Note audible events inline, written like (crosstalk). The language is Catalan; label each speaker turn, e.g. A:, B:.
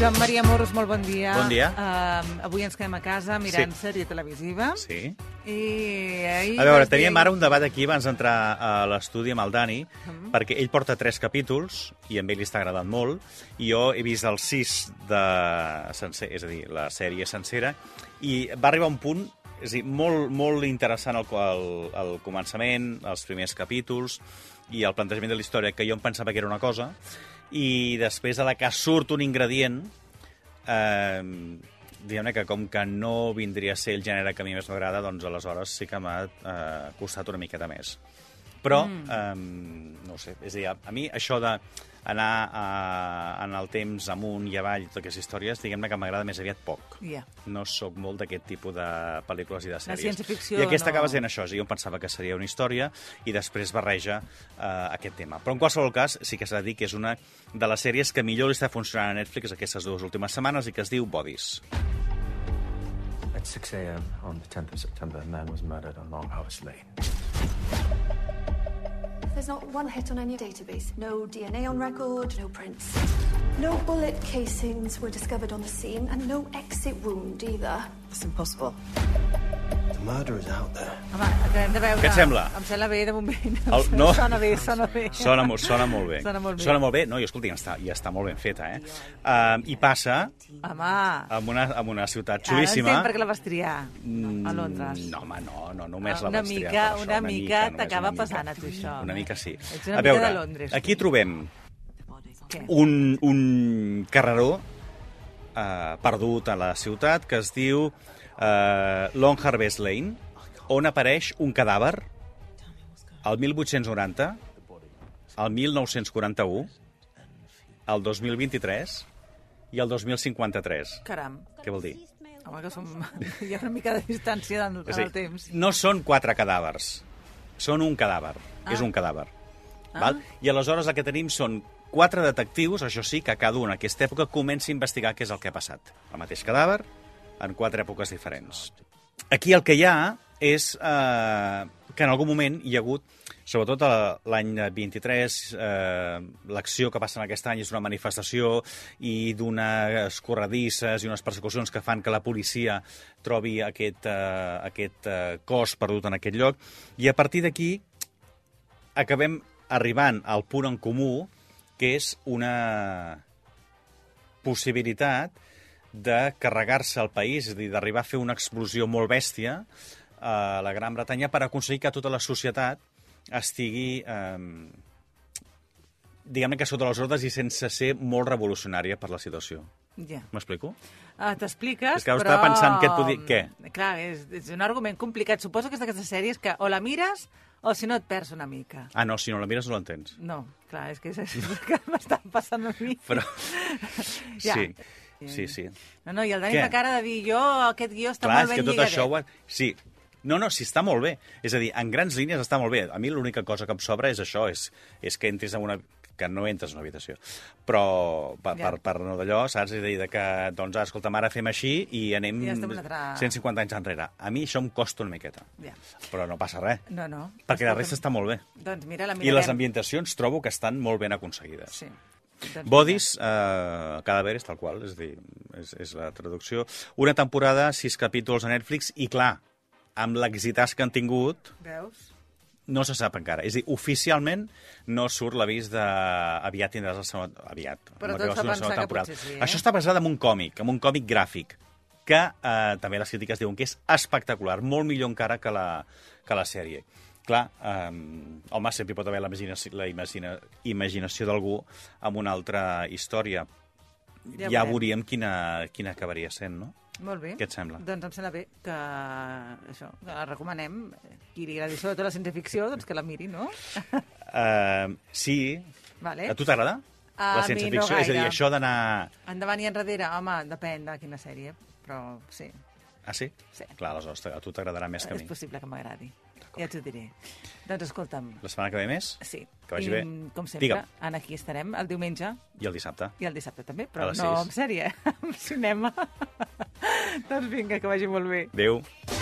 A: Joan Maria Moros, molt bon dia.
B: Bon dia.
A: Uh, avui ens quedem a casa mirant sí. sèrie televisiva.
B: Sí.
A: I ahir...
B: A
A: vas
B: veure,
A: dir-
B: teníem ara un debat aquí abans d'entrar a l'estudi amb el Dani, perquè ell porta tres capítols i a ell li està agradant molt, i jo he vist el sis de... sencer, és a dir, la sèrie sencera, i va arribar un punt és a dir, molt, molt interessant al el, el començament, els primers capítols, i el plantejament de la història, que jo em pensava que era una cosa, i després a la que surt un ingredient eh, diguem-ne que com que no vindria a ser el gènere que a mi més m'agrada, doncs aleshores sí que m'ha eh, costat una miqueta més. Però, mm. eh, no ho sé, és a dir, a, a mi això de anar eh, en el temps amunt i avall, totes aquestes històries, diguem-ne que m'agrada més aviat poc.
A: Ja.
B: No sóc molt d'aquest tipus de pel·lícules i de sèries.
A: ciència-ficció
B: I aquesta
A: no.
B: acaba sent això. és a dir, Jo em pensava que seria una història i després barreja eh, aquest tema. Però en qualsevol cas, sí que s'ha de dir que és una de les sèries que millor li està funcionant a Netflix aquestes dues últimes setmanes i que es diu Bodies.
C: At 6 a.m. on the 10th of September, a man was murdered on Long Harvest Lane.
D: There's not one hit on any database. No DNA on record, no prints. No bullet casings were discovered on the scene, and no exit wound either.
A: It's impossible.
C: The murder is out there.
A: Home, acabem de veure...
B: Què et sembla?
A: Em sembla bé, de moment.
B: El- no.
A: Sona bé, sona bé.
B: Sona, mo- sona molt bé.
A: Sona molt bé.
B: Sona molt bé. No, i escolti, ja està, ja està molt ben feta, eh? Uh, I passa
A: Home,
B: en una, en una ciutat
A: ara
B: xulíssima... Mm,
A: entenc per què la vas triar a Londres.
B: No, home, no, no només
A: Ah,
B: la
A: Una
B: vaig
A: mica-
B: triar per això,
A: una mica
B: només,
A: t'acaba
B: una mica.
A: pesant a tu, això,
B: Una
A: eh?
B: mica sí.
A: Ets una
B: a
A: mica
B: veure,
A: de Londres, tu.
B: aquí trobem
A: Què?
B: un, un carreró eh, perdut a la ciutat que es diu eh, Long Harvest Lane, on apareix un cadàver al 1890, al 1941, al 2023 i al 2053.
A: Caram.
B: Què vol dir?
A: Home, que som... (laughs) Hi ha una mica de distància en, en
B: És a
A: el
B: dir,
A: temps.
B: No són quatre cadàvers, són un cadàver. Ah. És un cadàver. Ah. Val? I aleshores el que tenim són quatre detectius, això sí, que cada un en aquesta època comença a investigar què és el que ha passat. El mateix cadàver, en quatre èpoques diferents. Aquí el que hi ha és eh, que en algun moment hi ha hagut, sobretot a l'any 23, eh, l'acció que passa en aquest any és una manifestació i d'unes corredisses i unes persecucions que fan que la policia trobi aquest, eh, aquest eh, cos perdut en aquest lloc. I a partir d'aquí acabem arribant al punt en comú, que és una possibilitat de carregar-se el país, és a dir, d'arribar a fer una explosió molt bèstia eh, a la Gran Bretanya per aconseguir que tota la societat estigui, eh, diguem-ne que sota les ordres i sense ser molt revolucionària per la situació.
A: Ja.
B: M'explico?
A: Ah, T'expliques,
B: És que ara
A: però... um,
B: estava pensant què et podia- què?
A: Clar, és, és un argument complicat. Suposo que és d'aquestes sèries que o la mires o si no et perds una mica.
B: Ah, no, si no la mires no l'entens.
A: No, clar, és que és
B: (laughs)
A: això que m'està passant a mi.
B: Però...
A: (laughs) Ja.
B: Sí, sí, sí.
A: No, no, i el Dani
B: Què?
A: fa cara de dir jo, aquest guió està
B: Clar,
A: molt
B: és
A: ben
B: que tot
A: lligadet.
B: això... Ho... ha- Sí, no, no, sí, està molt bé. És a dir, en grans línies està molt bé. A mi l'única cosa que em sobra és això, és, és que entris en una que no entres en una habitació, però per,
A: Ja.
B: ja. per, per no d'allò, saps? És a dir, de que, doncs, ara, escolta'm, ara fem així i anem
A: I ja estem en una altra-
B: 150 anys enrere. A mi això em costa una miqueta,
A: Ja.
B: però no passa res,
A: No, no.
B: perquè la
A: Escolta'm,
B: resta està molt bé.
A: Doncs mira, la
B: I
A: mirarem.
B: les ambientacions trobo que estan molt ben aconseguides.
A: Sí. Doncs
B: Bodis, eh, cadàveres, tal qual, és a dir, és, és la traducció. Una temporada, sis capítols a Netflix, i clar, amb l'exitàs que han tingut,
A: mira, Veus?
B: no se sap encara. És a dir, oficialment no surt l'avís de... Aviat tindràs la segona... Aviat.
A: Però
B: amb
A: tot
B: la
A: fa
B: segona
A: pensar que
B: temporada.
A: potser sí, eh?
B: Això està basat en un còmic, en un còmic gràfic, que eh, també les crítiques diuen que és espectacular, molt millor encara que la, que la sèrie. Clar, eh, home, sempre hi pot haver la, imaginació, la imagina, imaginació d'algú amb una altra història.
A: Ja
B: Ja, ja
A: veurem.
B: veuríem quina, quina acabaria sent, no?
A: Molt bé.
B: Què et sembla?
A: Doncs em sembla bé que això, que la recomanem. Qui li agradi sobretot la ciència-ficció, doncs que la miri,
B: (laughs)
A: no?
B: Eh, sí.
A: Vale.
B: A tu t'agrada?
A: A mi
B: la
A: no
B: ciència-ficció? és a dir,
A: gaire.
B: això d'anar...
A: Endavant i enrere, home, depèn de quina sèrie, però sí.
B: Ah, sí?
A: Sí.
B: Clar, aleshores a tu t'agradarà més que a
A: És
B: mi.
A: possible que m'agradi. Ja t'ho diré. Doncs escolta'm,
B: La setmana que ve més?
A: sí.
B: Que
A: I,
B: vagi bé.
A: Com sempre,
B: Digue'm.
A: Digue'm. aquí estarem el diumenge
B: I el dissabte.
A: i el dissabte també,
B: A
A: però
B: les
A: no (laughs)
B: sis.
A: en sèrie, en cinema. doncs vinga, que vagi molt bé.
B: Adéu.